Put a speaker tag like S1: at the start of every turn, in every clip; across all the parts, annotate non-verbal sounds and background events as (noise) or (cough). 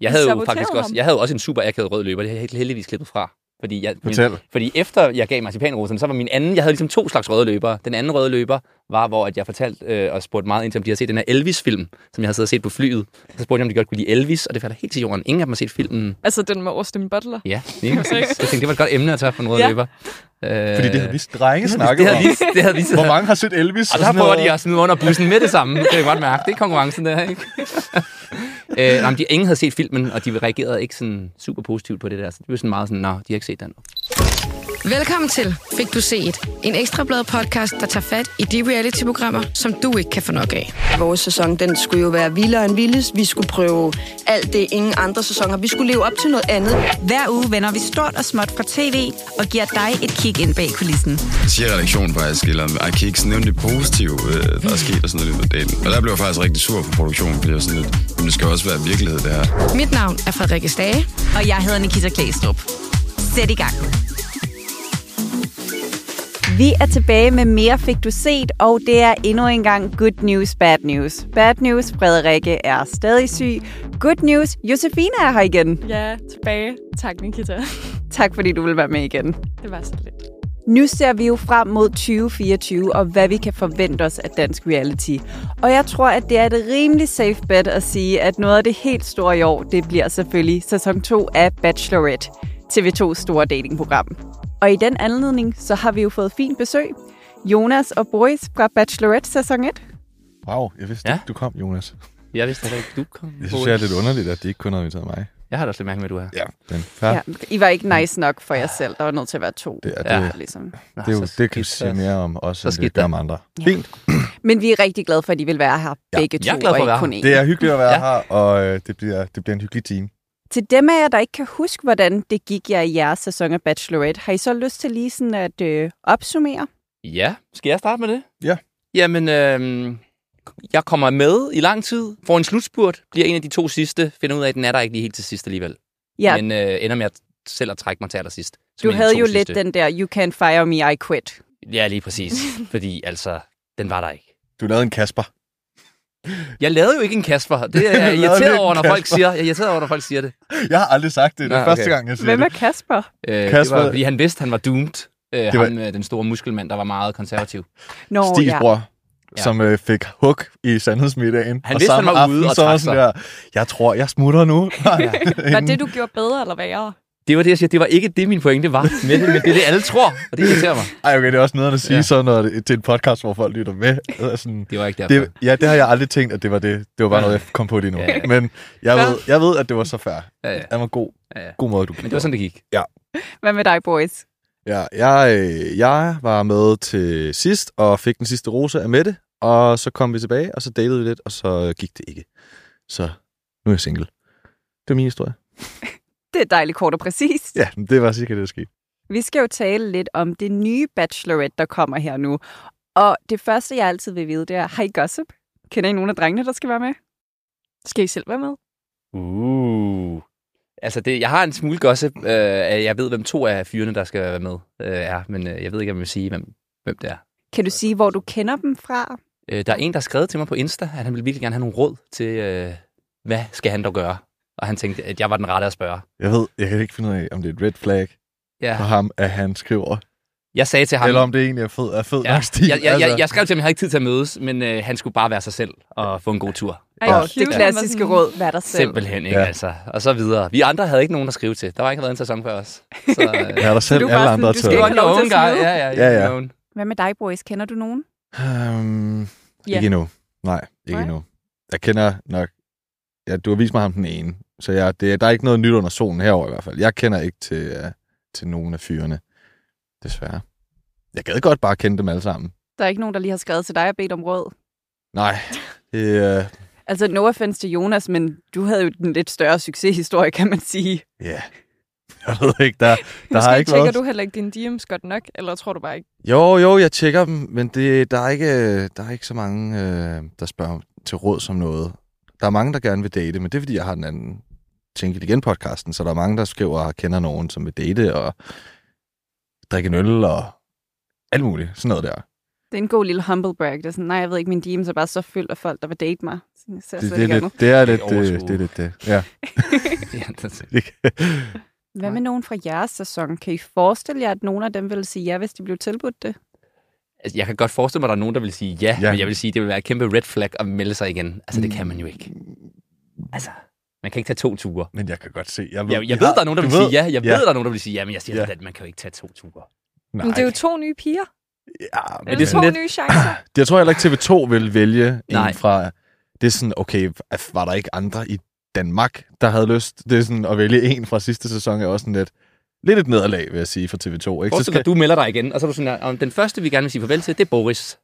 S1: Jeg havde jo
S2: saboterede
S1: faktisk også,
S2: ham.
S1: jeg havde jo også en super akavet rød løber. Det har jeg heldigvis klippet fra. Fordi, jeg, min,
S3: Fortæl.
S1: fordi efter jeg gav marcipanroserne, så var min anden... Jeg havde ligesom to slags røde løbere. Den anden røde løber var, hvor at jeg fortalte øh, og spurgte meget ind til, om de havde set den her Elvis-film, som jeg havde siddet og set på flyet. Så spurgte jeg, om de godt kunne lide Elvis, og det falder helt til jorden. Ingen af dem har set filmen.
S2: Altså den med Austin Butler.
S1: Ja, lige præcis. Jeg tænkte, det var et godt emne at tage for en rød
S2: Ja.
S1: løber. Øh,
S3: Fordi det havde vi drenge
S1: det
S3: snakket
S1: havde
S3: om.
S1: vi, det havde vi
S3: Hvor mange har set Elvis?
S1: Og der
S3: sådan
S1: prøver
S3: noget?
S1: de at smide under bussen med det samme. Det kan jeg godt mærke. Det er konkurrencen der, ikke? (laughs) øh, nej, men de, ingen havde set filmen, og de reagerede ikke sådan super positivt på det der. Så det var sådan meget sådan, nå, de har ikke set den.
S4: Velkommen til Fik du set? En ekstrablad podcast, der tager fat i de reality-programmer, som du ikke kan få nok af.
S5: Vores sæson, den skulle jo være vildere end vildest. Vi skulle prøve alt det, ingen andre sæsoner. Vi skulle leve op til noget andet.
S6: Hver uge vender vi stort og småt fra tv og giver dig et kig ind bag kulissen.
S7: siger redaktionen faktisk, eller ej, kan I ikke nævne det positive, øh, der er sket og sådan noget i løbet af dagen. Og der blev jeg faktisk rigtig sur på produktionen, fordi jeg var sådan lidt, men det skal jo også være virkelighed, det her.
S4: Mit navn er Frederikke Stage.
S6: Og jeg hedder Nikita Klæstrup. Sæt i gang.
S2: Vi er tilbage med mere Fik Du Set, og det er endnu en gang Good News, Bad News. Bad News, Frederikke er stadig syg. Good News, Josefine er her igen.
S8: Ja, tilbage. Tak, Nikita. (laughs)
S2: Tak fordi du vil være med igen.
S8: Det var så lidt.
S2: Nu ser vi jo frem mod 2024 og hvad vi kan forvente os af dansk reality. Og jeg tror, at det er et rimelig safe bet at sige, at noget af det helt store i år, det bliver selvfølgelig sæson 2 af Bachelorette, TV2's store datingprogram. Og i den anledning, så har vi jo fået fint besøg. Jonas og Boris fra Bachelorette sæson 1.
S3: Wow, jeg vidste
S1: Ja.
S3: ikke, du kom, Jonas.
S1: Jeg vidste heller ikke, du kom.
S3: Jeg synes, det er lidt underligt, at de ikke kun har inviteret mig.
S1: Jeg har da også lidt mærke med, at du er her.
S3: Ja. Den færd.
S2: Ja, I var ikke nice nok for jer selv. Der var nødt til at være to.
S3: Det, er, det,
S1: Ja.
S3: ja.
S2: Ligesom.
S1: Nå,
S3: det, er jo,
S1: så
S3: det kan vi
S1: skidt,
S3: sige
S1: så-
S3: mere om os,
S1: så
S3: end
S1: skidt
S3: det gør
S1: da.
S3: om andre. Fint.
S2: Men vi er rigtig glade for, at de vil være her
S3: Ja,
S2: begge
S1: jeg er
S2: to,
S1: glad for
S2: og
S1: at være
S2: ikke
S1: her.
S2: kun én.
S3: Det er hyggeligt at være
S1: Ja.
S3: her, og øh, det bliver, det bliver en hyggelig time.
S2: Til dem af jer, der ikke kan huske, hvordan det gik jer i jeres sæson af Bachelorette, har I så lyst til lige sådan at øh, opsummere?
S1: Ja, skal jeg starte med det?
S3: Ja.
S1: Jamen, øh, jeg kommer med i lang tid, får en slutspurt, bliver en af de to sidste, finder ud af, at den er der ikke lige helt til sidst alligevel.
S2: Ja, Men,
S1: Men øh, ender med at selv at trække mig til allersidst. som
S2: du
S1: en af de
S2: havde
S1: to
S2: jo
S1: sidste.
S2: lidt den der, you can fire me, I quit.
S1: Ja, lige præcis. Fordi altså, den var der ikke.
S3: Du lavede en Kasper. (laughs)
S1: Jeg lavede jo ikke en Kasper. Det (laughs) er
S3: lavede
S1: jeg
S3: ikke
S1: irriteret
S3: en
S1: over, når folk
S3: Kasper.
S1: siger, jeg er irriteret over, når folk siger det.
S3: Jeg har aldrig sagt det. Det er
S1: Nå,
S3: første
S1: okay.
S3: gang, jeg siger
S2: Hvem er
S3: det.
S2: Kasper?
S1: Øh,
S3: Kasper-
S1: Det var, fordi han vidste, han var doomed. Øh,
S3: Det var-
S1: Ham, øh, den store muskelmand, der var meget konservativ.
S2: Nå,
S3: Stigs
S2: ja.
S3: bror,
S1: Ja.
S3: som øh, fik hug i sandhedsmiddagen.
S1: Han vidste, han
S3: samme
S1: var ude og
S3: så
S1: trak
S3: sådan der, jeg tror, jeg smutter
S2: (laughs)
S3: nu.
S8: Var det, du gjorde bedre eller værre?
S1: Det var det, jeg siger. Det var ikke det, min pointe var (laughs) med det, men det er det, alle tror, og det irriterer mig.
S3: Ej, okay, det er også noget at sige
S1: Ja.
S3: ja. sådan noget til en podcast, hvor folk lytter med. Altså, sådan,
S1: Det var ikke derfor.
S3: det, ja, det har jeg aldrig tænkt, at det var det. Det var bare
S1: Ja.
S3: noget, jeg kom på lige nu.
S1: Ja.
S3: Men jeg ved, jeg ved, at det var så fair.
S1: Ja, ja.
S3: Det var en god,
S1: Ja, ja.
S3: god måde, du
S1: Men det var sådan, det gik.
S2: Hvad med dig, boys?
S3: Ja, jeg, øh, jeg var med til sidst, og fik den sidste rose af Mette, og så kom vi tilbage, og så datede vi lidt, og så gik det ikke. Så nu er jeg single. Det var min historie.
S2: Det er dejligt kort og præcist.
S3: Ja, men det var cirka det, der skete.
S2: Vi skal jo tale lidt om det nye Bachelorette, der kommer her nu. Og det første, jeg altid vil vide, det er, har I gossip? Kender I nogen af drengene, der skal være med?
S8: Skal I selv være med?
S1: Uh. Altså, det, jeg har en smule gossip. Øh, at jeg ved, hvem to af fyrene, der skal være med, øh, er. Men øh, jeg ved ikke, om jeg vil sige, hvem, hvem det er.
S2: Kan du sige, hvor du kender dem fra?
S1: Øh, der er en, der har skrevet til mig på Insta, at han ville virkelig gerne have nogle råd til, øh, hvad skal han dog gøre? Og han tænkte, at jeg var den rette at spørge.
S3: Jeg ved, jeg kan ikke finde ud af, om det er et red flag
S1: Ja.
S3: for ham, at han skriver,
S1: Jeg sagde til ham...
S3: eller om det egentlig er fed, er fed
S1: ja,
S3: nok stil. Altså,
S1: jeg, jeg, jeg, jeg skrev til ham, at jeg havde ikke tid til at mødes, men øh, han skulle bare være sig selv og få en god tur.
S8: Ej,
S2: Ja,
S8: hvor
S2: og det
S8: cute.
S2: klassiske
S8: Han var
S2: råd, vær dig selv.
S1: Simpelthen, ikke
S3: Ja.
S1: altså? Og så videre. Vi andre havde ikke nogen at skrive til. Der var ikke været en sæson før
S2: (laughs)
S1: os. Så, øh,
S3: jeg er der selv,
S2: Du er bare
S3: alle
S2: sådan,
S3: andre er
S2: du skal
S3: taget.
S2: ikke have lov til at
S1: guy.
S2: smide.
S1: Ja, ja,
S3: Ja, ja.
S1: you know.
S2: Hvad med dig, Boris? Kender du nogen?
S3: Um,
S8: Ja.
S3: Ikke endnu. Nej, ikke
S8: Nej.
S3: endnu. Jeg kender nok... Ja, du har vist mig ham den ene. Så jeg, det, der er ikke noget nyt under solen herover i hvert fald. Jeg kender ikke til, uh, til nogen af fyrene. Desværre. Jeg gad godt bare kende dem alle sammen.
S2: Der er ikke nogen, der lige har skrevet til dig og bedt om råd.
S3: Nej, det, uh,
S2: Altså, no offense til Jonas, men du havde jo den lidt større succeshistorie, kan man sige.
S3: yeah. (laughs) Jeg ved ikke, der, der
S8: Måske
S3: har ikke
S8: tjekker
S3: været...
S8: du heller ikke dine DM's godt nok, eller tror du bare ikke?
S3: Jo, jo, jeg tjekker dem, men det, der, er ikke, der er ikke så mange, øh, der spørger til råd som noget. Der er mange, der gerne vil date, men det er, fordi jeg har den anden tænkeligt igen podcasten, så der er mange, der skriver og kender nogen, som vil date og drikke en øl og alt muligt. Sådan noget der.
S2: Det er en god lille humble brag. Det er sådan, nej, jeg ved ikke, min DM's er bare så fyldt af folk, der vil date mig. Sådan, jeg ser
S3: Det,
S2: slet
S3: det,
S2: ikke
S3: er
S2: andet.
S3: lidt, det er lidt
S1: Ikke
S3: det.
S1: overskue.
S3: Det er lidt det. Ja.
S1: (laughs) Ja, det-
S3: Det kan-
S2: Hvad med nogen fra jeres sæson? Kan I forestille jer, at nogen af dem ville sige ja, hvis de blev tilbudt det?
S1: altså, jeg kan godt forestille mig, at der er nogen, der vil sige ja,
S3: Ja. Mm.
S1: ja. men jeg vil sige, det vil være et kæmpe red flag at melde sig igen. Altså, det kan man jo ikke. Altså, man kan ikke tage to ture.
S3: Men jeg kan godt se.
S1: Jeg, jeg
S3: vi
S1: ved,
S3: har-
S1: der er nogen, der
S3: du
S1: vil sige ja. Jeg ved, der er nogen, der vil sige ja, men jeg siger
S3: Ja.
S1: ja. at man kan jo ikke tage to ture.
S3: Nej.
S8: Men det er jo to nye piger.
S3: ja, men
S8: Eller
S1: det er
S8: to
S1: sådan lidt-
S8: nye chancer.
S3: Jeg tror heller ikke, TV2 vil vælge en
S1: Nej.
S3: fra... Det er sådan, okay, var der ikke andre i Danmark, der havde lyst? Det er sådan, at vælge en fra sidste sæson er også sådan lidt... Lidt et nederlag, vil jeg sige, for TV2. Ikke? Så,
S1: Forestil dig,
S3: skal,
S1: at du melder dig igen, og så er du sådan, at den første, vi gerne vil sige farvel til, det er Boris.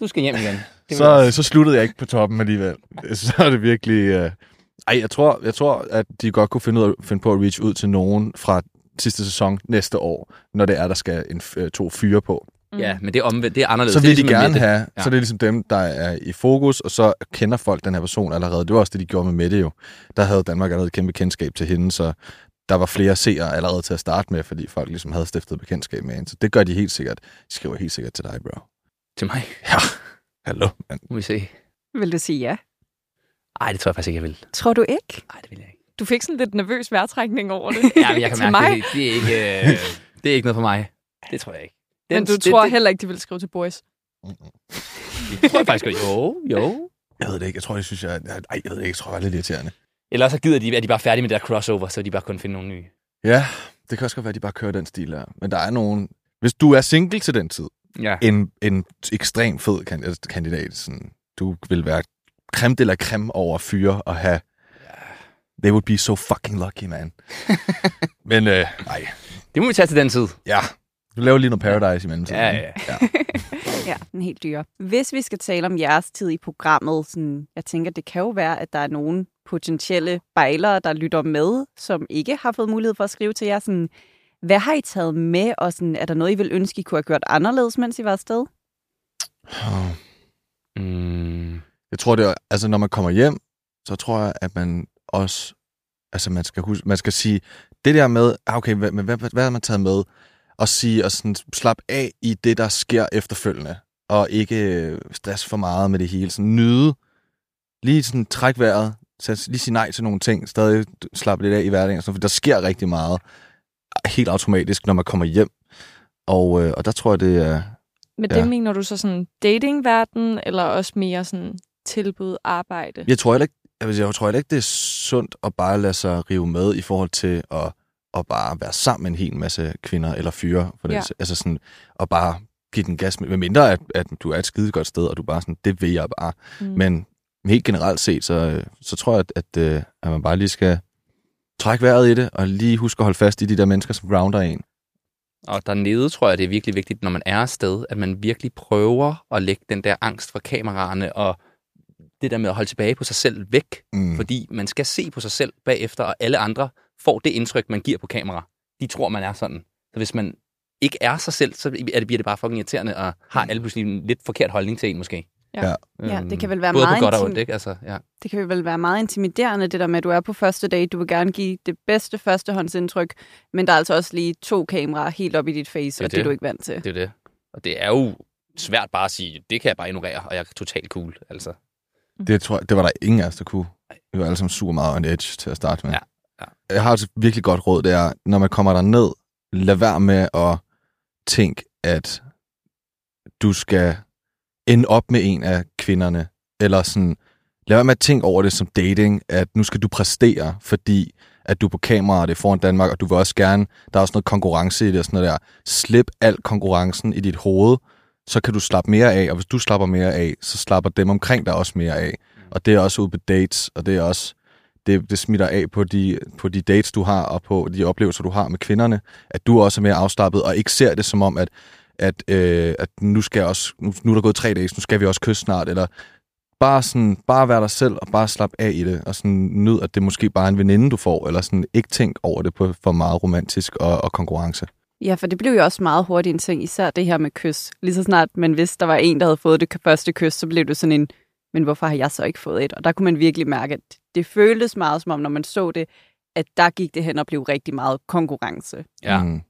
S1: Du skal hjem igen. Det vil
S3: så,
S1: jeg-
S3: så sluttede jeg ikke på toppen alligevel. (laughs) Så er det virkelig... Øh... Ej, jeg tror, jeg tror, at de godt kunne finde, ud af, finde på at reach ud til nogen fra sidste sæson næste år, når det er, der skal en, f- øh, to fyre på.
S1: Ja, men det er omvendt. Det er anderledes.
S3: så
S1: Det er
S3: vil de
S1: ligesom med
S3: gerne
S1: Mette.
S3: have,
S1: Ja.
S3: så det er ligesom dem, der er i fokus, og så kender folk den her person allerede. Det var også det, de gjorde med Mette jo. Der havde Danmark allerede et kæmpe kendskab til hende, så der var flere seere allerede til at starte med, fordi folk ligesom havde stiftet bekendtskab med hende. Så det gør de helt sikkert. De skriver helt sikkert til dig, bro.
S1: Til mig.
S3: Hallo, mand.
S1: Må vi se.
S2: Vil du sige ja?
S1: Ej, det tror jeg faktisk ikke, jeg vil.
S2: Tror du ikke?
S1: Nej, det vil jeg ikke.
S8: Du fik sådan lidt nervøs vejrtrækning over det.
S1: (laughs) Ja, men jeg kan
S8: Til
S1: mærke,
S8: mig.
S1: det, det, er ikke, øh, det er ikke noget for mig. Det tror jeg ikke. Den,
S8: Men du
S1: det,
S8: tror
S1: det,
S8: heller ikke, de ville skrive til Boris.
S1: det, det tror jeg faktisk ikke. Jo, jo.
S3: Jeg ved det ikke. Jeg tror, jeg synes, jeg... Ej, jeg ved det ikke. Jeg tror, jeg er lidt irriterende.
S1: Eller så gider de, at de bare er færdige med det der crossover, så vil de bare kun finde nogle nye.
S3: Ja, det kan også godt være, at de bare kører den stil der. Men der er nogen... Hvis du er single til den tid,
S1: Ja.
S3: en, en ekstrem fed kan- altså, kandidat. Sådan, du vil være creme de la creme over fyre og have... They would be so fucking lucky, man. Men øh, nej,
S1: Det må vi tage til den tid.
S3: ja. Du laver lige noget Paradise i mellemtiden.
S1: Ja, ja,
S3: ja.
S2: Ja, den helt dyre. Hvis vi skal tale om jeres tid i programmet, sådan, jeg tænker, det kan jo være, at der er nogen potentielle bejlere, der lytter med, som ikke har fået mulighed for at skrive til jer. Sådan, hvad har I taget med, og sådan, er der noget, I vil ønske, I kunne have gjort anderledes, mens I var afsted?
S3: Åh,
S1: Mm.
S3: Jeg tror, det er, altså, når man kommer hjem, så tror jeg, at man også... Altså, man skal, huske, man skal sige, det der med, ah, okay, hvad, men hvad, hvad, hvad har man taget med? Og sige, og sådan, slap af i det, der sker efterfølgende. Og ikke øh, stress for meget med det hele. Sådan, nyde. Lige sådan, træk vejret. Så lige sige nej til nogle ting. Stadig slappe lidt af i hverdagen. og sådan, For der sker rigtig meget. Helt automatisk, når man kommer hjem. Og, øh, og der tror jeg, det er...
S8: Men
S3: Ja.
S8: det mener du så sådan datingverden, eller også mere sådan tilbud, arbejde?
S3: Jeg tror heller ikke, jeg, vil sige, jeg tror heller ikke, det er sundt at bare lade sig rive med i forhold til at, at bare være sammen med en hel masse kvinder eller fyre. For ja.
S8: Ja.
S3: det, altså sådan, og bare give den gas med, med mindre at, at du er et skide godt sted, og du bare sådan, det vil jeg bare.
S8: Mm.
S3: Mm. Men helt generelt set, så, øh, så tror jeg, at, at, øh, at man bare lige skal trække vejret i det, og lige huske at holde fast i de der mennesker, som grounder en.
S1: Og dernede tror jeg, det er virkelig vigtigt, når man er afsted, at man virkelig prøver at lægge den der angst for kameraerne og det der med at holde tilbage på sig selv væk.
S3: Mm.
S1: Fordi man skal se på sig selv bagefter, og alle andre får det indtryk, man giver på kamera. De tror, man er sådan. Så hvis man ikke er sig selv, så er det, bliver det bare fucking irriterende, og har alle pludselig en lidt forkert holdning til en måske.
S8: Ja.
S3: Ja.
S2: Mm. Ja, det
S1: Øhm,
S2: kan vel være
S1: Både
S2: meget
S1: på godt og
S2: intim-
S1: ondt, ikke? Altså, ja.
S2: Det kan vel være meget intimiderende, det der med, at du er på første date, du vil gerne give det bedste førstehåndsindtryk, men der er altså også lige to kameraer helt op i dit face,
S1: Det er
S2: og det, er
S1: det.
S2: du ikke vant til.
S1: Det er det. Og det er jo svært bare at sige, det kan jeg bare ignorere, og jeg er totalt cool. Altså.
S3: Det, tror jeg, det var der ingen af os, der kunne. Vi var alle sammen super meget on edge til at starte med.
S1: Ja, ja.
S3: Jeg har et virkelig godt råd, det er, når man kommer derned, lad være med at tænke, at du skal ende op med en af kvinderne, eller sådan, lad være med at tænke over det som dating, at nu skal du præstere, fordi at du er på kamera, og det er foran Danmark, og du vil også gerne, der er også noget konkurrence i det og sådan noget der. Slip al konkurrencen i dit hoved, så kan du slappe mere af, og hvis du slapper mere af, så slapper dem omkring dig også mere af. Og det er også ude på dates, og det er også, det, det smitter af på de, på de dates, du har, og på de oplevelser, du har med kvinderne, at du også er mere afslappet, og ikke ser det som om, at, at, øh, at nu, skal jeg også, nu, nu er der gået tre dage, så nu skal vi også kysse snart, eller bare, sådan, bare være dig selv, og bare slappe af i det, og sådan nyd, at det måske bare er en veninde, du får, eller sådan ikke tænk over det på for meget romantisk og, og konkurrence.
S2: Ja, for det blev jo også meget hurtigt en ting, især det her med kys. Lige så snart man vidste, der var en, der havde fået det første kys, så blev det sådan en, men hvorfor har jeg så ikke fået et? Og der kunne man virkelig mærke, at det føltes meget som om, når man så det, at der gik det hen og blev rigtig meget konkurrence.
S1: Ja.
S3: Mm.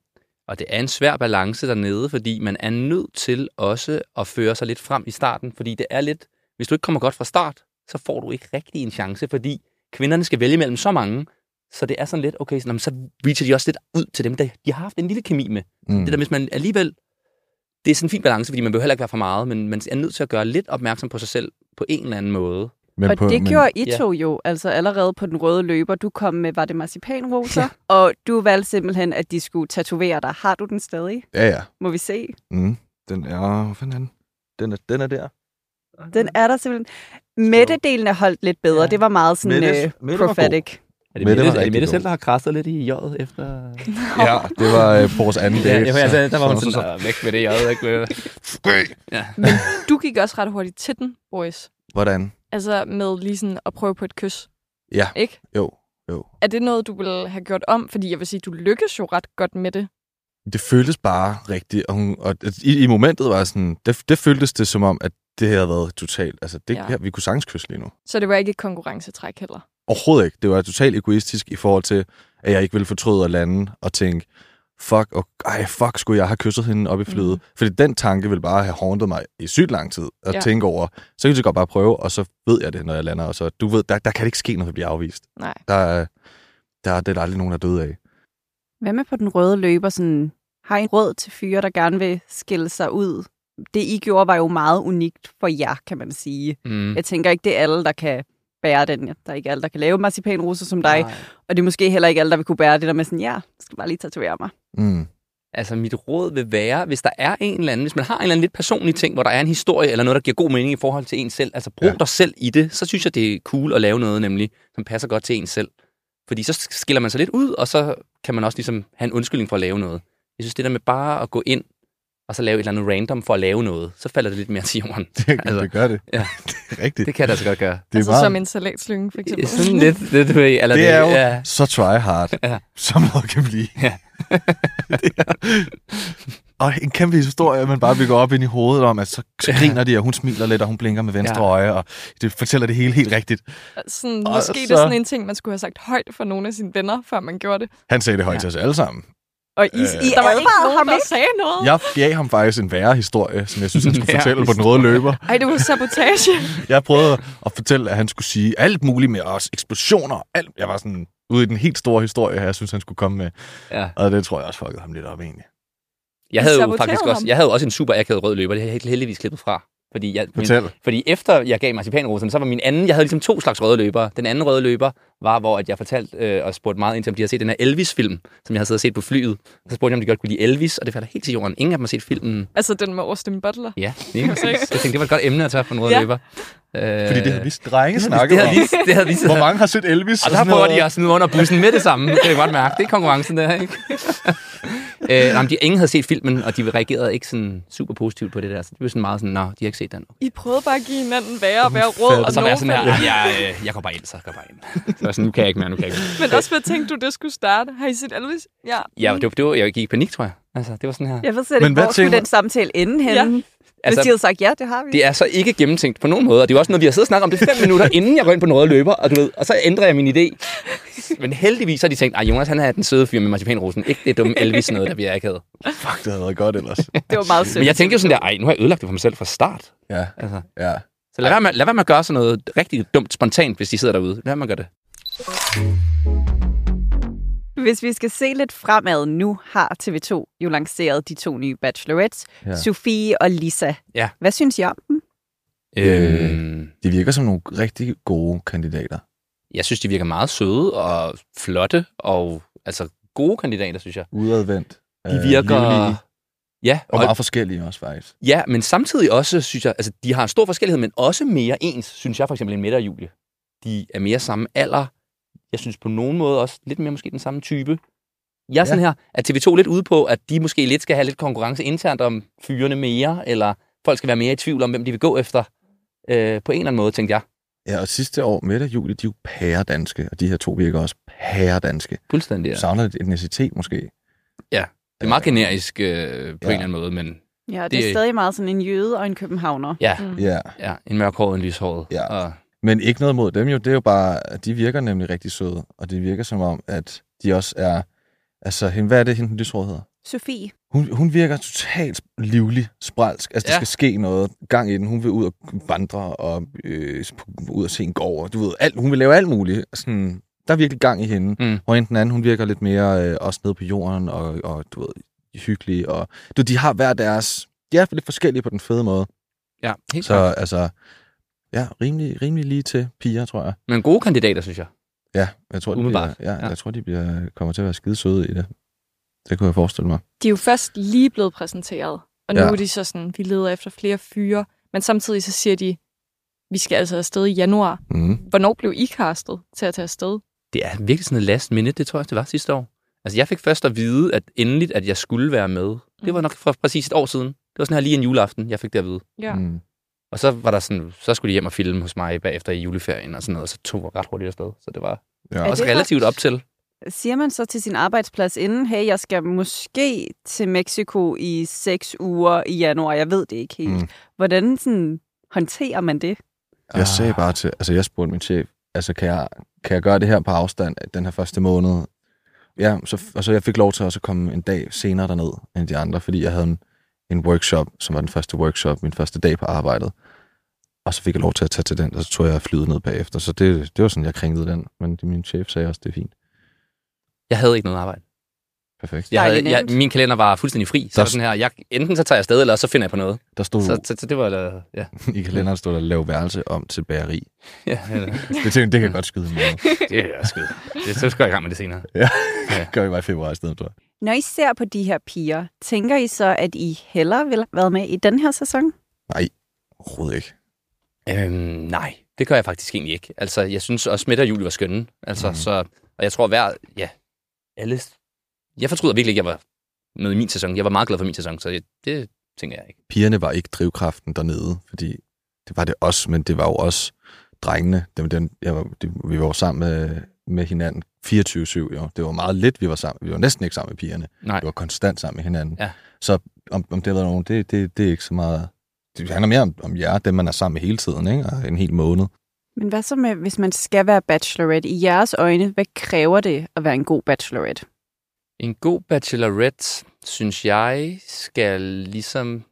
S1: Og det er en svær balance dernede, fordi man er nødt til også at føre sig lidt frem i starten, fordi det er lidt, hvis du ikke kommer godt fra start, så får du ikke rigtig en chance, fordi kvinderne skal vælge mellem så mange, så det er sådan lidt, okay, så, jamen, så reacher de også lidt ud til dem, der de har haft en lille kemi med.
S3: Mm.
S1: Det der, hvis man alligevel... Det er sådan en fin balance, fordi man behøver heller ikke være for meget, men man er nødt til at gøre lidt opmærksom på sig selv på en eller anden måde.
S3: men
S2: og det gjorde I
S1: Ja.
S2: to jo, altså allerede på den røde løber. Du kom med, var det marcipanroser? Ja. Og du valgte simpelthen, at de skulle tatovere dig. Har du den stadig?
S3: Ja, ja.
S2: Må vi se?
S3: Mm. Den er... Hvad fanden er den? Den er, den er der.
S2: Den er der simpelthen. Mættedelen er holdt lidt bedre. Ja. Det var meget sådan
S3: Mette-
S2: øh,
S3: Mette var god.
S2: prophetic. (laughs)
S1: Er det
S3: Mette
S1: Mette,
S3: var
S1: er det
S3: rigtig
S1: Mette
S3: god.
S1: selv, der har krasset lidt i jøjet efter...
S3: Ja, det var øh, vores
S1: (laughs)
S3: anden
S1: Ja,
S3: date.
S1: jeg, altså, der var hun
S3: så-
S1: sådan,
S3: så-
S1: "Nå, væk med det jøjet, ikke med...
S8: Du gik også ret hurtigt til den, Boris.
S3: Hvordan?
S8: Altså med lige sådan at prøve på et kys,
S3: Ja,
S8: ikke?
S3: jo, jo.
S8: Er det noget, du ville have gjort om? Fordi jeg vil sige, du lykkes jo ret godt med det.
S3: Det føltes bare rigtigt, og, hun, og i, i momentet var jeg sådan, det, det føltes det som om, at det havde været totalt, altså det
S8: Ja.
S3: ja. her, vi kunne sagtens kysse lige nu.
S8: Så det var ikke et konkurrencetræk heller.
S3: Overhovedet ikke. Det var totalt egoistisk i forhold til, at jeg ikke ville fortryde at lande og tænke, fuck, og, ej, fuck, skulle jeg have kysset hende op i flyet? Mm. Fordi den tanke ville bare have hauntet mig i sygt lang tid at
S8: Ja.
S3: ja. tænke over. Så kan du godt bare prøve, og så ved jeg det, når jeg lander. Og så, du ved, der, der kan det ikke ske, når vi bliver afvist.
S8: Nej.
S3: Der, er- der, er- det er der aldrig nogen, der er døde af.
S2: Hvad med på den røde løber? Sådan, har I en råd til fyre, der gerne vil skille sig ud? Det, I gjorde, var jo meget unikt for jer, kan man sige.
S1: Mm.
S2: Jeg tænker ikke, det er alle, der kan bære den. Der er ikke alle, der kan lave marcipanrusser som dig. Nej. Og det er måske heller ikke alle, der vil kunne bære det der med sådan, ja, jeg skal bare lige tatovere mig.
S3: Mm. (laughs)
S1: Altså, mit råd vil være, hvis der er en eller anden, hvis man har en eller anden lidt personlig ting, hvor der er en historie eller noget, der giver god mening i forhold til en selv, altså brug ja.
S3: Ja.
S1: dig selv i det, så synes jeg, det er cool at lave noget, nemlig, som passer godt til en selv. Fordi så skiller man sig lidt ud, og så kan man også ligesom have en undskyldning for at lave noget. Jeg synes, det der med bare at gå ind og så lave et eller andet random for at lave noget, så falder det lidt mere til jorden.
S3: Det,
S1: Altså,
S3: altså, det gør det.
S1: ja.
S3: (laughs) det er rigtigt.
S1: Det kan jeg da så godt gøre.
S3: det
S8: altså som en salatslyng, for eksempel.
S1: Sådan lidt, lidt du ved, eller
S3: det er jo
S1: ja.
S3: ja. så try hard,
S1: Ja.
S3: ja. som noget kan blive.
S1: Ja.
S3: Det er- (laughs) og en kæmpe historie, man bare bygger op ind i hovedet om, at så så griner de, og hun smiler lidt, og hun blinker med venstre
S1: Ja.
S3: ja. øje, og det fortæller det hele helt rigtigt.
S8: (laughs) Sådan,
S3: Og
S8: måske så... det er
S3: så-
S8: sådan en ting, man skulle have sagt højt for nogle af sine venner, før man gjorde det.
S3: Han sagde det højt
S1: Ja.
S3: til os alle sammen.
S8: Og I,
S3: Øh.
S8: øh, der var ikke
S2: advarede ham
S8: nogen, der
S2: ikke?
S8: sagde noget.
S3: Jeg gav ham faktisk en værre historie, som jeg synes, han (laughs) skulle
S1: Værre
S3: fortælle på den røde løber.
S8: Ej, det var sabotage. (laughs)
S3: Jeg prøvede at fortælle, at han skulle sige alt muligt med os, eksplosioner, alt. Jeg var sådan ude i den helt store historie, jeg synes, han skulle komme med.
S1: Ja.
S3: Og det tror jeg også fuckede ham lidt op, egentlig.
S1: Jeg havde jo
S8: saboterede
S1: faktisk også,
S8: ham.
S1: jeg havde jo også en super akavet rød løber, det har jeg helt heldigvis klippet fra. Fordi, jeg, min,
S3: Fortæl.
S1: fordi efter jeg gav marcipanroserne, så var min anden, jeg havde ligesom to slags røde løbere. Den anden røde løber var, hvor at jeg fortalte øh, og spurgte meget ind til, om de havde set den her Elvis-film, som jeg havde siddet og set på flyet. Så spurgte jeg, om de godt kunne lide Elvis, og det falder helt til jorden. Ingen af dem har set filmen.
S8: altså den med Austin Butler.
S1: Ja, lige præcis. Jeg tænkte, det var et godt emne at tage på en rød
S8: Ja.
S1: løber. Øh,
S3: Fordi det havde vi drenge
S1: det
S3: snakket
S1: havde
S3: om.
S1: vi, det havde vi
S3: (laughs) Hvor mange har set Elvis?
S1: Og der prøver de at smide under bussen med det samme. Det kan jeg godt mærke. Det er konkurrencen der, ikke? (laughs) øh, nej, men de, ingen havde set filmen, og de reagerede ikke sådan super positivt på det der. Så det blev sådan meget sådan, nå, de har ikke set den.
S8: I prøvede bare at give hinanden værre og værre råd.
S1: Og så var jeg sådan her,
S8: nogle-
S1: jeg, øh, jeg går bare ind, så jeg går bare ind. (laughs) Så var jeg sådan, nu kan jeg ikke mere, nu kan jeg ikke mere.
S8: Men også, hvad tænkte du, det skulle starte? Har I set Elvis? Ja.
S1: Ja, det var, det var, jeg gik i panik, tror jeg. Altså, det var sådan her.
S2: Jeg ved slet
S3: Men
S2: ikke,
S3: hvad
S2: hvor skulle
S3: tænker-
S2: den samtale ende henne?
S8: Ja.
S2: Ja. Altså, Hvis de
S1: Altså,
S2: havde sagt, ja, det har vi.
S1: det er så ikke gennemtænkt på nogen måde, og det er jo også noget, vi har siddet og snakket om det fem minutter, inden jeg går ind på den røde løber, og, du ved, og så ændrer jeg min idé. Men heldigvis har de tænkt, at Jonas han er den søde fyr med marcipanrosen, ikke det dumme Elvis noget, der bliver akavet.
S3: Fuck, det havde været
S1: (laughs)
S3: godt ellers.
S2: det var meget sødt.
S1: Men jeg tænkte jo sådan der, ej, nu har jeg ødelagt det for mig selv fra start.
S3: ja,
S1: Altså,
S3: ja.
S1: Så lad være, med, lad være med at gøre sådan noget rigtig dumt spontant, hvis de sidder derude. Lad være med at gøre det.
S2: Hvis vi skal se lidt fremad, nu har TV2 jo lanceret de to nye bachelorettes, ja.
S3: Ja.
S2: Sofie og Lisa.
S1: Ja.
S2: Hvad synes I om dem?
S3: Øh.
S1: Øhm,
S3: De virker som nogle rigtig gode kandidater.
S1: jeg synes, de virker meget søde og flotte og altså gode kandidater, synes jeg.
S3: Udadvendt.
S1: De
S3: øh,
S1: virker...
S3: livlige,
S1: ja,
S3: og
S1: og,
S3: meget forskellige også, faktisk.
S1: ja, men samtidig også, synes jeg, altså de har en stor forskellighed, men også mere ens, synes jeg for eksempel, end Mette og Julie. De er mere samme alder. Jeg synes på nogen måde også lidt mere måske den samme type. Jeg er sådan her, at TV2 lidt ude på, at de måske lidt skal have lidt konkurrence internt om fyrene mere, eller folk skal være mere i tvivl om, hvem de vil gå efter. Øh, på en eller anden måde, tænkte jeg.
S3: Ja, og sidste år, midt og juli, de er jo pæredanske, og de her to virker også pæredanske.
S1: Fuldstændig,
S3: Ja.
S1: ja.
S3: Savner lidt etnicitet, måske.
S1: Det er meget generisk øh, på ja.
S3: Ja.
S1: en eller anden måde, men
S2: Ja,
S1: Det
S2: det, det er
S1: er-
S2: stadig meget sådan en jøde og en københavner.
S1: ja,
S8: Mm.
S3: Ja.
S1: ja en mørkhåret, en lyshåret.
S3: Ja.
S1: Og,
S3: Men ikke noget mod dem jo, det er jo bare, at de virker nemlig rigtig søde, og det virker som om, at de også er, altså, hende, hvad er det, hende den lyshårede hedder?
S6: Sofie.
S3: Hun, hun virker totalt livlig, spralsk. Altså, ja.
S1: Ja.
S3: der skal ske noget gang i den. Hun vil ud og vandre og øh, ud og se en gård. og Du ved, alt, hun vil lave alt muligt. Sådan, der er virkelig gang i hende.
S1: Mm.
S3: Og hende den anden, hun virker lidt mere øh, også nede på jorden og, og du ved, hyggelig. Og, du, ved, de har hver deres... De er lidt forskellige på den fede måde.
S1: Ja, helt
S3: Så
S1: så...
S3: altså, ja, rimelig, rimelig lige til piger, tror jeg.
S1: Men gode kandidater, synes jeg.
S3: Ja, jeg tror, de bliver,
S1: Umiddelbart,
S3: ja,
S1: ja.
S3: jeg tror, de bliver, kommer til at være skide søde i det. Det kunne jeg forestille mig.
S8: De er jo først lige blevet præsenteret, og nu
S3: Ja.
S8: ja. er de så sådan, vi leder efter flere fyre, men samtidig så siger de, vi skal altså afsted i januar.
S3: Mm.
S8: Hvornår blev I castet til at tage afsted?
S1: Det er virkelig sådan et last minute, det tror jeg, også, det var sidste år. Altså, jeg fik først at vide, at endeligt, at jeg skulle være med. Det var nok for præcis et år siden. Det var sådan her lige en juleaften, jeg fik det at vide.
S8: Ja.
S3: Mm.
S1: Og så var der sådan, så skulle de hjem og filme hos mig bagefter i juleferien og sådan noget, og så tog jeg ret hurtigt afsted. Så det var
S3: Er
S1: ja.
S3: det
S1: også relativt op til.
S2: Siger man så til sin arbejdsplads inden, hey, jeg skal måske til Mexico i seks uger i januar, jeg ved det ikke helt.
S3: Mm.
S2: Mm. Hvordan sådan, håndterer man det?
S3: Jeg sagde bare til, altså jeg spurgte min chef, altså kan jeg, kan jeg gøre det her på afstand den her første måned? Ja, så, og så jeg fik lov til også at komme en dag senere derned end de andre, fordi jeg havde en, en workshop, som var den første workshop, min første dag på arbejdet. Og så fik jeg lov til at tage til den, og så tog jeg flyet ned bagefter. Så det, det var sådan, jeg kringlede den. Men det, min chef sagde også, det er fint.
S1: Jeg havde ikke noget arbejde.
S3: Perfekt. Ja.
S1: Jeg havde,
S2: Dejligt
S1: jeg,
S2: nemt.
S1: min kalender var fuldstændig fri. Så
S3: Der- Uh.
S1: var sådan her, jeg, enten så tager jeg afsted, eller så finder jeg på noget.
S3: Der stod
S1: Så,
S3: så...
S1: så, så det var, øh, ja.
S3: (laughs) i kalenderen, stod der lav værelse om til bageri.
S1: ja eller-
S3: Det tænkte, det kan jeg godt skyde med. (laughs)
S1: det er skud. Det, så skal jeg i gang med det senere.
S3: Gør vi bare i februar i stedet for.
S2: Når I ser på de her piger, tænker I så, at I hellere vil have været med i den her sæson?
S3: Overhovedet ikke.
S1: Øhm, nej, det gør jeg faktisk egentlig ikke. Altså, jeg synes også, Mette og Julie var skønne. Altså,
S3: Mhm.
S1: mm. så, og jeg tror hver, ja, alle... Jeg fortryder virkelig ikke, at jeg var med i min sæson. Jeg var meget glad for min sæson, så jeg, det tænker jeg ikke.
S3: pigerne var ikke drivkraften dernede, fordi det var det os, men det var jo også drengene. Dem, dem, jeg var, de, vi var jo sammen med, med hinanden 24-7, jo. Det var meget lidt, vi var sammen. Vi var næsten ikke sammen med pigerne.
S1: Nej.
S3: Vi var konstant sammen med hinanden.
S1: Ja.
S3: Så om, om det var nogen, det, det, det er ikke så meget... Det handler mere om, om jer, dem man er sammen med hele tiden, ikke? Og en hel måned.
S2: Men hvad så med, hvis man skal være bachelorette? I jeres øjne, hvad kræver det at være en god bachelorette?
S1: En god bachelorette, synes jeg, skal ligesom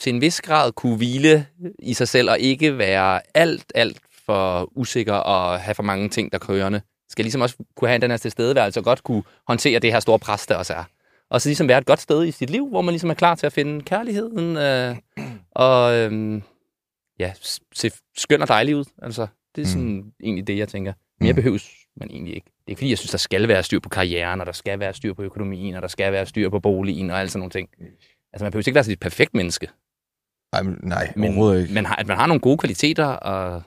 S1: til en vis grad kunne hvile i sig selv, og ikke være alt, alt for usikker og have for mange ting, der kørende. Skal ligesom også kunne have den her tilstedeværelse og godt kunne håndtere det her store pres, der også er. Og så ligesom være et godt sted i sit liv, hvor man ligesom er klar til at finde kærligheden, øh, og øh, ja, s- se skøn og dejlig ud. Altså, det er sådan mm. egentlig det, jeg tænker. Mere
S3: Mm.
S1: behøves man egentlig ikke. Det er ikke fordi, jeg synes, der skal være styr på karrieren, og der skal være styr på økonomien, og der skal være styr på boligen og alt sådan nogle ting. Altså, man behøver ikke være sådan et perfekt menneske.
S3: Ej, men nej,
S1: Men
S3: overhovedet ikke.
S1: man har, at man har nogle gode kvaliteter, og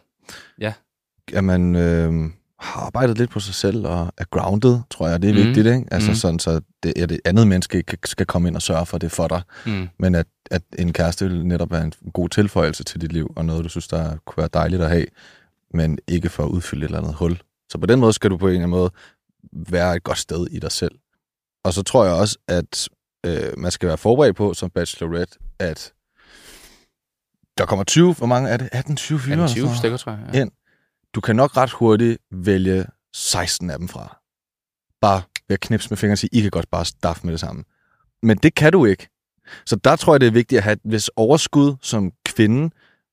S3: at man øh, har arbejdet lidt på sig selv og er grounded, tror jeg, det er mm.
S1: Mhm.
S3: vigtigt, ikke? Altså mm.
S1: Mhm.
S3: sådan, så det, ja, det andet menneske ikke skal komme ind og sørge for det for dig,
S1: mm,
S3: men at, at en kæreste vil netop være en god tilføjelse til dit liv, og noget, du synes, der kunne være dejligt at have, men ikke for at udfylde et eller andet hul. Så på den måde skal du på en eller anden måde være et godt sted i dig selv. Og så tror jeg også, at øh, man skal være forberedt på som bachelorette, at der kommer 20, hvor mange er det? 18-20 fyre? eller sådan
S1: 20
S3: noget?
S1: stykker, tror jeg.
S3: Ja. du kan nok ret hurtigt vælge 16 af dem fra. Bare ved at knipse med fingrene og sige, I kan godt bare staffe med det samme. Men det kan du ikke. Så der tror jeg, det er vigtigt at have et vis overskud som kvinde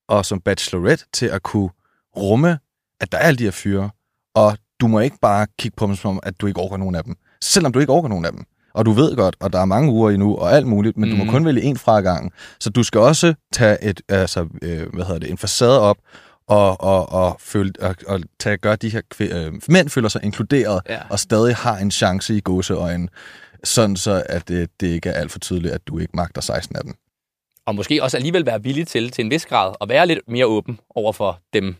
S3: og som bachelorette til at kunne rumme, at der er alle de her fyre, og du må ikke bare kigge på dem som om, at du ikke overgår nogen af dem. Selvom du ikke overgår nogen af dem. Og du ved godt, og der er mange uger endnu, og alt muligt, men mm. du må
S1: Mhm.
S3: kun vælge en fra ad gangen. Så du skal også tage et, altså, øh, hvad hedder det, en facade op, og, og, og, føle, og, og tage, gøre de her kvi, øh, mænd føler sig inkluderet,
S1: Ja.
S3: og stadig har en chance i gåseøjne, sådan så at øh, det ikke er alt for tydeligt, at du ikke magter 16 af dem.
S1: Og måske også alligevel være villig til, til en vis grad, at være lidt mere åben over for dem,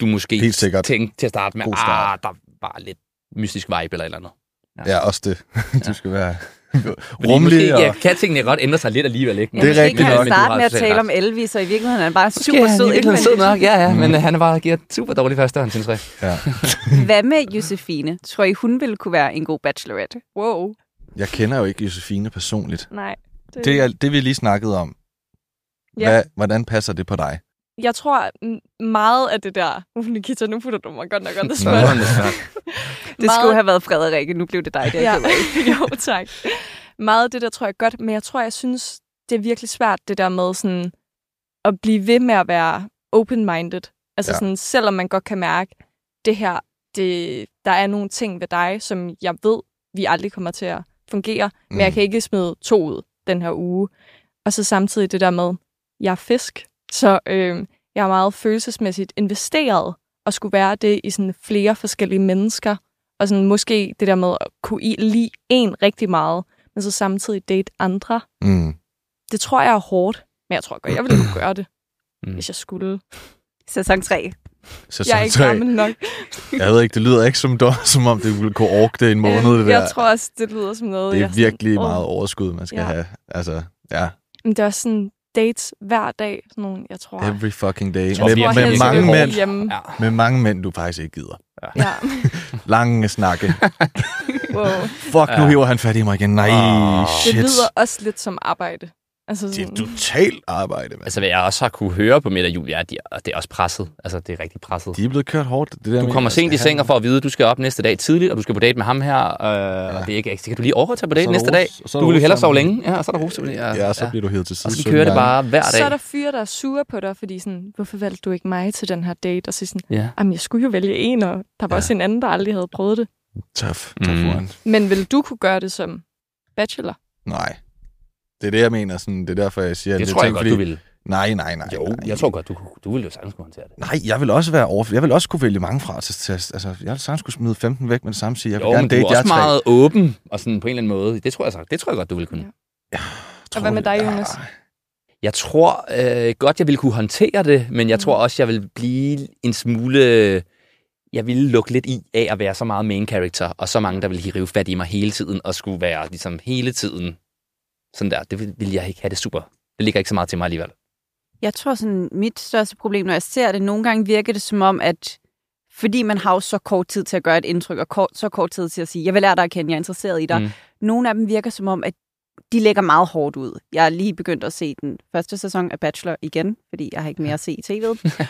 S1: du måske
S3: Helt sikkert.
S1: tænkte til at starte med,
S3: God
S1: ah,
S3: start."
S1: der var lidt mystisk vibe eller et eller andet.
S3: Ja, ja også det. (laughs) du skal være
S1: Fordi
S3: rummelig.
S1: Måske,
S3: og...
S1: ja, kan tingene godt ændre sig lidt alligevel, ikke?
S3: Ja, Det er
S2: Måske
S3: rigtigt
S2: kan
S3: nok.
S2: han
S1: Men du har altså
S2: starte med at
S1: totalt
S2: tale
S1: ret.
S2: om Elvis, og i virkeligheden er han bare
S1: Måske er
S2: super
S1: han
S2: sød.
S1: i virkeligheden sød nok, ja, ja,
S3: Mm.
S1: men øh, han er bare giver super dårlig førstehåndsindtryk.
S2: (laughs) Hvad med Josefine? Tror I, hun ville kunne være en god bachelorette?
S8: Wow,
S3: Jeg kender jo ikke Josefine personligt.
S8: nej.
S3: Det, er, det vi lige snakkede om.
S8: Øh. Ja.
S3: Hvad, hvordan passer det på dig?
S8: Jeg tror m- meget af det der... (laughs) Uh, Nikita, nu putter du mig godt nok under
S3: (laughs)
S1: Nå,
S8: spot.
S1: det er svært.
S2: Det skulle have været Frederikke, nu blev det dig, der
S8: Ja.
S2: ja.
S8: (laughs) jo, tak. meget af det der tror jeg er godt, men jeg tror, jeg synes, det er virkelig svært, det der med sådan at blive ved med at være open-minded. Altså
S3: Ja.
S8: ja. sådan, selvom man godt kan mærke, det her, det, der er nogle ting ved dig, som jeg ved, vi aldrig kommer til at fungere, men jeg
S3: Mm.
S8: kan ikke smide to ud den her uge. Og så samtidig det der med, jeg er fisk, så øh, jeg er meget følelsesmæssigt investeret og skulle være det i sådan flere forskellige mennesker. Og sådan måske det der med at kunne i- lide en rigtig meget, men så samtidig date andre.
S3: Mm.
S8: Det tror jeg er hårdt, men jeg tror godt, jeg ville kunne gøre det,
S1: Mm.
S8: mm. hvis jeg skulle.
S2: Sæson 3.
S3: Sæson
S8: Jeg er ikke
S3: tre.
S8: gammel nok.
S3: Jeg ved ikke, det lyder ikke som, (laughs) dom- som om det ville kunne orke det en måned.
S8: Øhm,
S3: det
S8: (laughs) jeg
S3: der.
S8: tror også, det lyder som noget.
S3: det
S8: jeg
S3: er virkelig
S8: sådan, åh.
S3: meget overskud, man skal
S8: Ja.
S3: have. Altså, ja.
S8: Men det er også sådan dates hver dag. Sådan nogle, jeg tror,
S3: Every fucking day.
S1: tror,
S3: med,
S1: jeg
S3: med,
S1: helst,
S3: mange
S1: det er
S3: mænd,
S8: Hjemme.
S1: Ja.
S3: med mange mænd, du faktisk ikke gider.
S8: Ja.
S3: Lange snakke.
S8: Wow.
S3: Fuck, nu
S1: Ja.
S3: hiver han fat i mig igen. Nej,
S1: Ah.
S8: Det
S3: shit.
S8: lyder også lidt som arbejde. Altså
S3: Det er
S8: sådan,
S3: totalt arbejde, mand.
S1: Altså, hvad jeg også har kunne høre på middag, Julia, de er, det er også presset. Altså, det er rigtig presset.
S3: De er blevet kørt hårdt. Det der
S1: Du
S3: med-
S1: kommer sent i
S3: altså,
S1: seng og får at vide, at du skal op næste dag tidligt, og du skal på date med ham her, øh, ja. og det er ikke ekstra. Kan du lige overhovedet tage på date
S3: Så er der
S1: næste
S3: ros-
S1: dag?
S3: og så er
S1: Du
S3: der
S1: vil jo hellere sove
S3: rosamund.
S1: længe, ja, og så er der rose. Ja,
S3: Ja, så bliver du hævet til side.
S1: Og så kører det
S3: sytten gange.
S1: bare hver dag.
S8: så er der fyre, der er sure på dig, fordi sådan, hvorfor valgte du ikke mig til den her date? Og så er sådan,
S1: Ja.
S8: jamen jeg skulle jo vælge en, og der var
S3: Ja.
S8: ja. også en anden, der aldrig havde prøvet det.
S3: Tough. Tough
S1: Mm.
S3: one.
S8: Men vil du kunne gøre det som bachelor?
S3: Nej. Det er det, jeg mener. Sådan, det er derfor, jeg siger...
S1: Det
S3: er
S1: tror jeg
S3: ting,
S1: godt,
S3: fordi-
S1: du ville.
S3: Nej, nej, nej.
S1: Jo,
S3: nej.
S1: jeg tror godt, du, kunne- du ville jo sagtens kunne håndtere det.
S3: Nej, jeg vil også være over... Jeg vil også kunne vælge mange fra til test. Altså, jeg vil sagtens kunne smide 15 væk, men samtidig... Jeg vil
S1: Jo,
S3: gerne
S1: men du er
S3: date jer
S1: også
S3: tre.
S1: meget åben, og sådan på en eller anden måde. Det tror jeg, så, det tror jeg godt, du ville kunne.
S8: Ja.
S3: Tror
S8: Og hvad med
S3: du-
S8: dig,
S3: Ja.
S8: Jonas?
S1: Jeg tror øh, godt, jeg ville kunne håndtere det, men
S2: Mm.
S1: jeg tror også, jeg ville blive en smule... Jeg ville lukke lidt i af at være så meget main character, og så mange, der ville hive fat i mig hele tiden, og skulle være ligesom hele tiden sådan der. Det vil- ville jeg ikke have det super. Det ligger ikke så meget til mig alligevel.
S2: Jeg tror sådan, mit største problem, når jeg ser det, nogle gange virker det som om, at fordi man har jo så kort tid til at gøre et indtryk, og kort, så kort tid til at sige, jeg vil lære dig at kende, jeg er interesseret i dig.
S1: Mm.
S2: Mm. Nogle af dem virker som om, at de lægger meget hårdt ud. Jeg er lige begyndt at se den første sæson af Bachelor igen, fordi jeg har ikke mere at se i tv'et.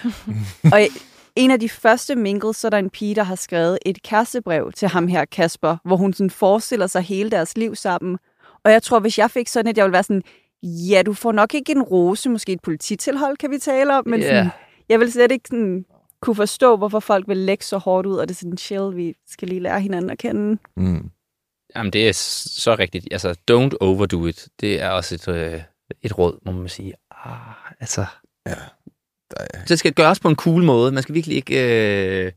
S2: og en af de første minkels, så er der en pige, der har skrevet et kærestebrev til ham her, Kasper, hvor hun sådan forestiller sig hele deres liv sammen. Og jeg tror, hvis jeg fik sådan et, jeg ville være sådan, ja, du får nok ikke en rose, måske et polititilhold, kan vi tale om, men
S1: Ja.
S2: yeah. sådan, jeg vil slet ikke sådan, kunne forstå, hvorfor folk vil lægge så hårdt ud, og det er sådan, chill, vi skal lige lære hinanden at kende.
S3: Mm.
S1: Jamen, det er s- så rigtigt. Altså, don't overdo it. Det er også et, øh, et råd, må man sige. Ah, altså,
S3: Der er
S1: Så det skal gøres på en cool måde. Man skal virkelig ikke... Øh,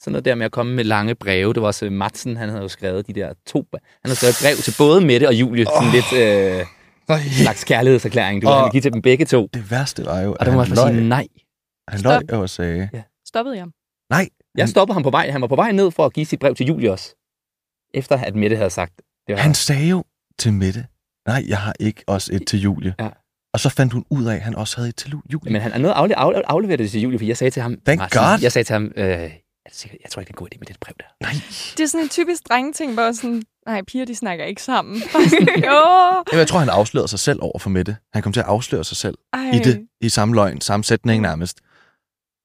S1: sådan noget der med at komme med lange breve. Det var også øh, Madsen, han havde jo skrevet de der to... Han havde skrevet et brev til både Mette og Julie. Oh. Sådan lidt øh, slags kærlighedserklæring. Du
S3: Og-
S1: oh. han give til dem begge to.
S3: Det værste var jo,
S1: Og
S3: at
S1: der må
S3: han
S1: man bare sige
S3: løg,
S1: nej.
S3: han
S8: Stop.
S3: løg jo og sagde,
S8: Stoppede jeg?
S1: Jeg stoppede ham på vej. Han var på vej ned for at give sit brev til Julie også. Efter at Mette havde sagt... Det var
S3: han sagde jo til Mette, nej, jeg har ikke også et til Julie.
S1: Ja.
S3: Og så fandt hun ud af, at han også havde et til Lu- Julie.
S1: Men han er nødt afle- afle- aflevere det til Julie, for jeg sagde til ham...
S3: Thank
S1: Madsen,
S3: God.
S1: Jeg sagde til ham... Øh, jeg tror ikke, det er en god idé med det brev der.
S3: nej.
S8: Det er sådan en typisk drengeting, hvor sådan, nej, piger, de snakker ikke (laughs) sammen. Bare sådan, Åh,
S3: Jamen, Jeg tror, han afslørede sig selv over for Mette. Han kom til at afsløre sig selv
S8: ej.
S3: i det, i samme løgn, samme sætning nærmest.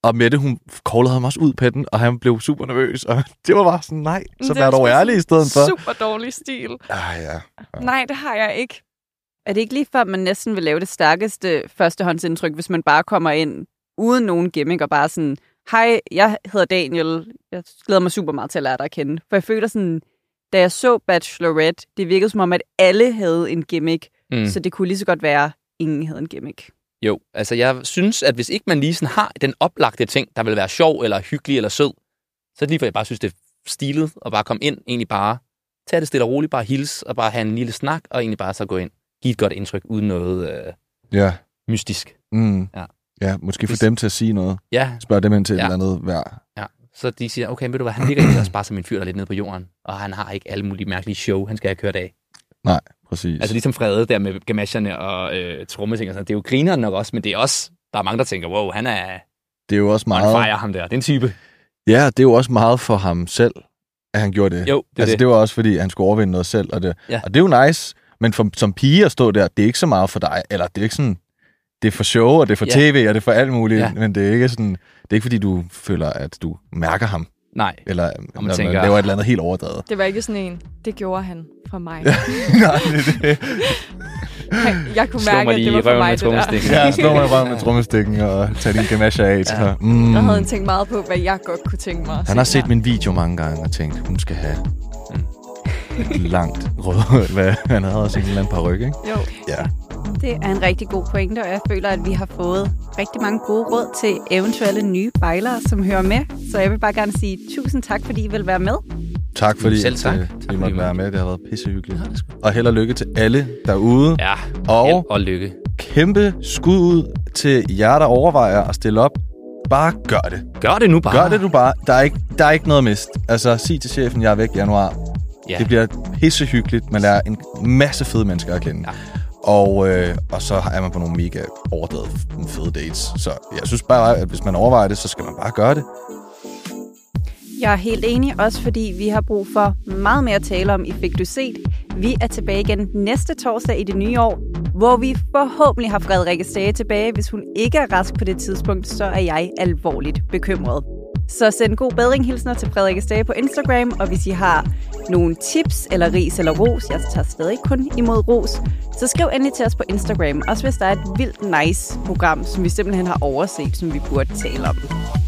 S3: Og Mette, hun callede ham også ud på den, og han blev super nervøs. Og (laughs) det var bare sådan, nej, så
S8: Det
S3: vær
S8: er
S3: dog
S8: også
S3: ærlig i stedet for.
S8: Super dårlig stil.
S3: Ah, ja.
S8: Nej, det har jeg ikke.
S2: Er det ikke lige før, man næsten vil lave det stærkeste førstehåndsindtryk, hvis man bare kommer ind uden nogen gimmick og bare sådan, hej, jeg hedder Daniel, jeg glæder mig super meget til at lære dig at kende. For jeg føler sådan, da jeg så Bachelorette, det virkede som om, at alle havde en gimmick, mm. så det kunne lige så godt være, ingen havde en gimmick.
S1: Jo, altså jeg synes, at hvis ikke man lige sådan har den oplagte ting, der vil være sjov eller hyggelig eller sød, så er det lige for, jeg bare synes, det er stilet at bare komme ind, egentlig bare tage det stille og roligt, bare hilse og bare have en lille snak, og egentlig bare så gå ind. Give et godt indtryk uden noget øh,
S3: Ja.
S1: mystisk.
S3: Mm.
S1: Ja.
S3: ja, måske få
S1: Hvis-
S3: dem til at sige noget.
S1: Ja,
S3: Spørg dem ind til ja. et
S1: Ja.
S3: eller andet hver.
S1: ja. Så de siger, okay, ved du hvad, han ligger egentlig også bare som en fyr, der er lidt nede på jorden, og han har ikke alle mulige mærkelige show, han skal have kørt af.
S3: Nej, præcis.
S1: Altså ligesom Frede der med gamasherne og øh, trommeting og sådan, det er jo grineren nok også, men det er også, der er mange, der tænker, wow, han er
S3: det er jo også
S1: on
S3: meget...
S1: fire, ham der. Det er en type.
S3: Ja, det er jo også meget for ham selv, at han gjorde det.
S1: Jo, det er
S3: altså, det.
S1: det.
S3: var også, fordi han skulle overvinde noget selv, og det, ja.
S1: Ja.
S3: og det er jo nice. Men for, som pige at stå der, det er ikke så meget for dig. Eller det er ikke sådan... Det er for show, og det er for
S1: Ja.
S3: tv, og det er for alt muligt.
S1: Ja.
S3: Men det er ikke sådan... Det er ikke, fordi du føler, at du mærker ham.
S1: Nej,
S3: Eller, eller man
S1: tænker-
S3: laver et eller andet helt overdrevet.
S8: Det var ikke sådan en, det gjorde han. for mig.
S3: (laughs) Nej, det er det.
S8: Jeg kunne
S1: Slå
S8: mærke,
S1: mig
S8: at
S1: lige
S8: det
S1: i
S8: var for
S1: røven
S8: mig,
S1: med
S8: det der.
S1: trommestikken.
S3: Ja, slå mig bare med trommestikken og tag din gamasje af. Ja. Så, mm.
S8: Jeg havde en tænkt meget på, hvad jeg godt kunne tænke mig. at
S3: Han har
S8: se
S3: set
S8: her.
S3: min video mange gange og tænkt, hun skal have mm, et langt rød. (laughs) Hvad? Han havde også en eller anden par ryg, ikke?
S8: Jo.
S3: Ja.
S2: Det er en rigtig god pointe, og jeg føler, at vi har fået rigtig mange gode råd til eventuelle nye bejlere, som hører med. Så jeg vil bare gerne sige tusind tak, fordi I vil være med.
S3: Tak fordi
S1: Selv tak.
S3: at, øh,
S1: Tak,
S3: vi
S1: fordi
S3: måtte
S1: vi
S3: være
S1: måtte.
S3: med. Det har været pissehyggeligt. Og held og lykke til alle derude.
S1: Ja,
S3: Og-
S1: held og lykke.
S3: Kæmpe skud ud til jer, der overvejer at stille op. Bare gør det.
S1: Gør det nu bare.
S3: Gør det du bare. Der er ikke, der er ikke noget mist. Altså, sig til chefen, jeg er væk i januar.
S1: Ja.
S3: Det bliver pissehyggeligt. Man lærer en masse fede mennesker at kende. Ja. Og, øh, og så er man på nogle mega overdrevet f- fede dates. Så jeg synes bare, at hvis man overvejer det, så skal man bare gøre det.
S2: Jeg er helt enig, også fordi vi har brug for meget mere at tale om i Fik Du Set. Vi er tilbage igen næste torsdag i det nye år, hvor vi forhåbentlig har Frederikke Stage tilbage. Hvis hun ikke er rask på det tidspunkt, så er jeg alvorligt bekymret. Så send god bedring hilsner til Frederikke Stage på Instagram, og hvis I har nogle tips eller ris eller ros, jeg tager stadig kun imod ros, så skriv endelig til os på Instagram, også hvis der er et vildt nice program, som vi simpelthen har overset, som vi burde tale om.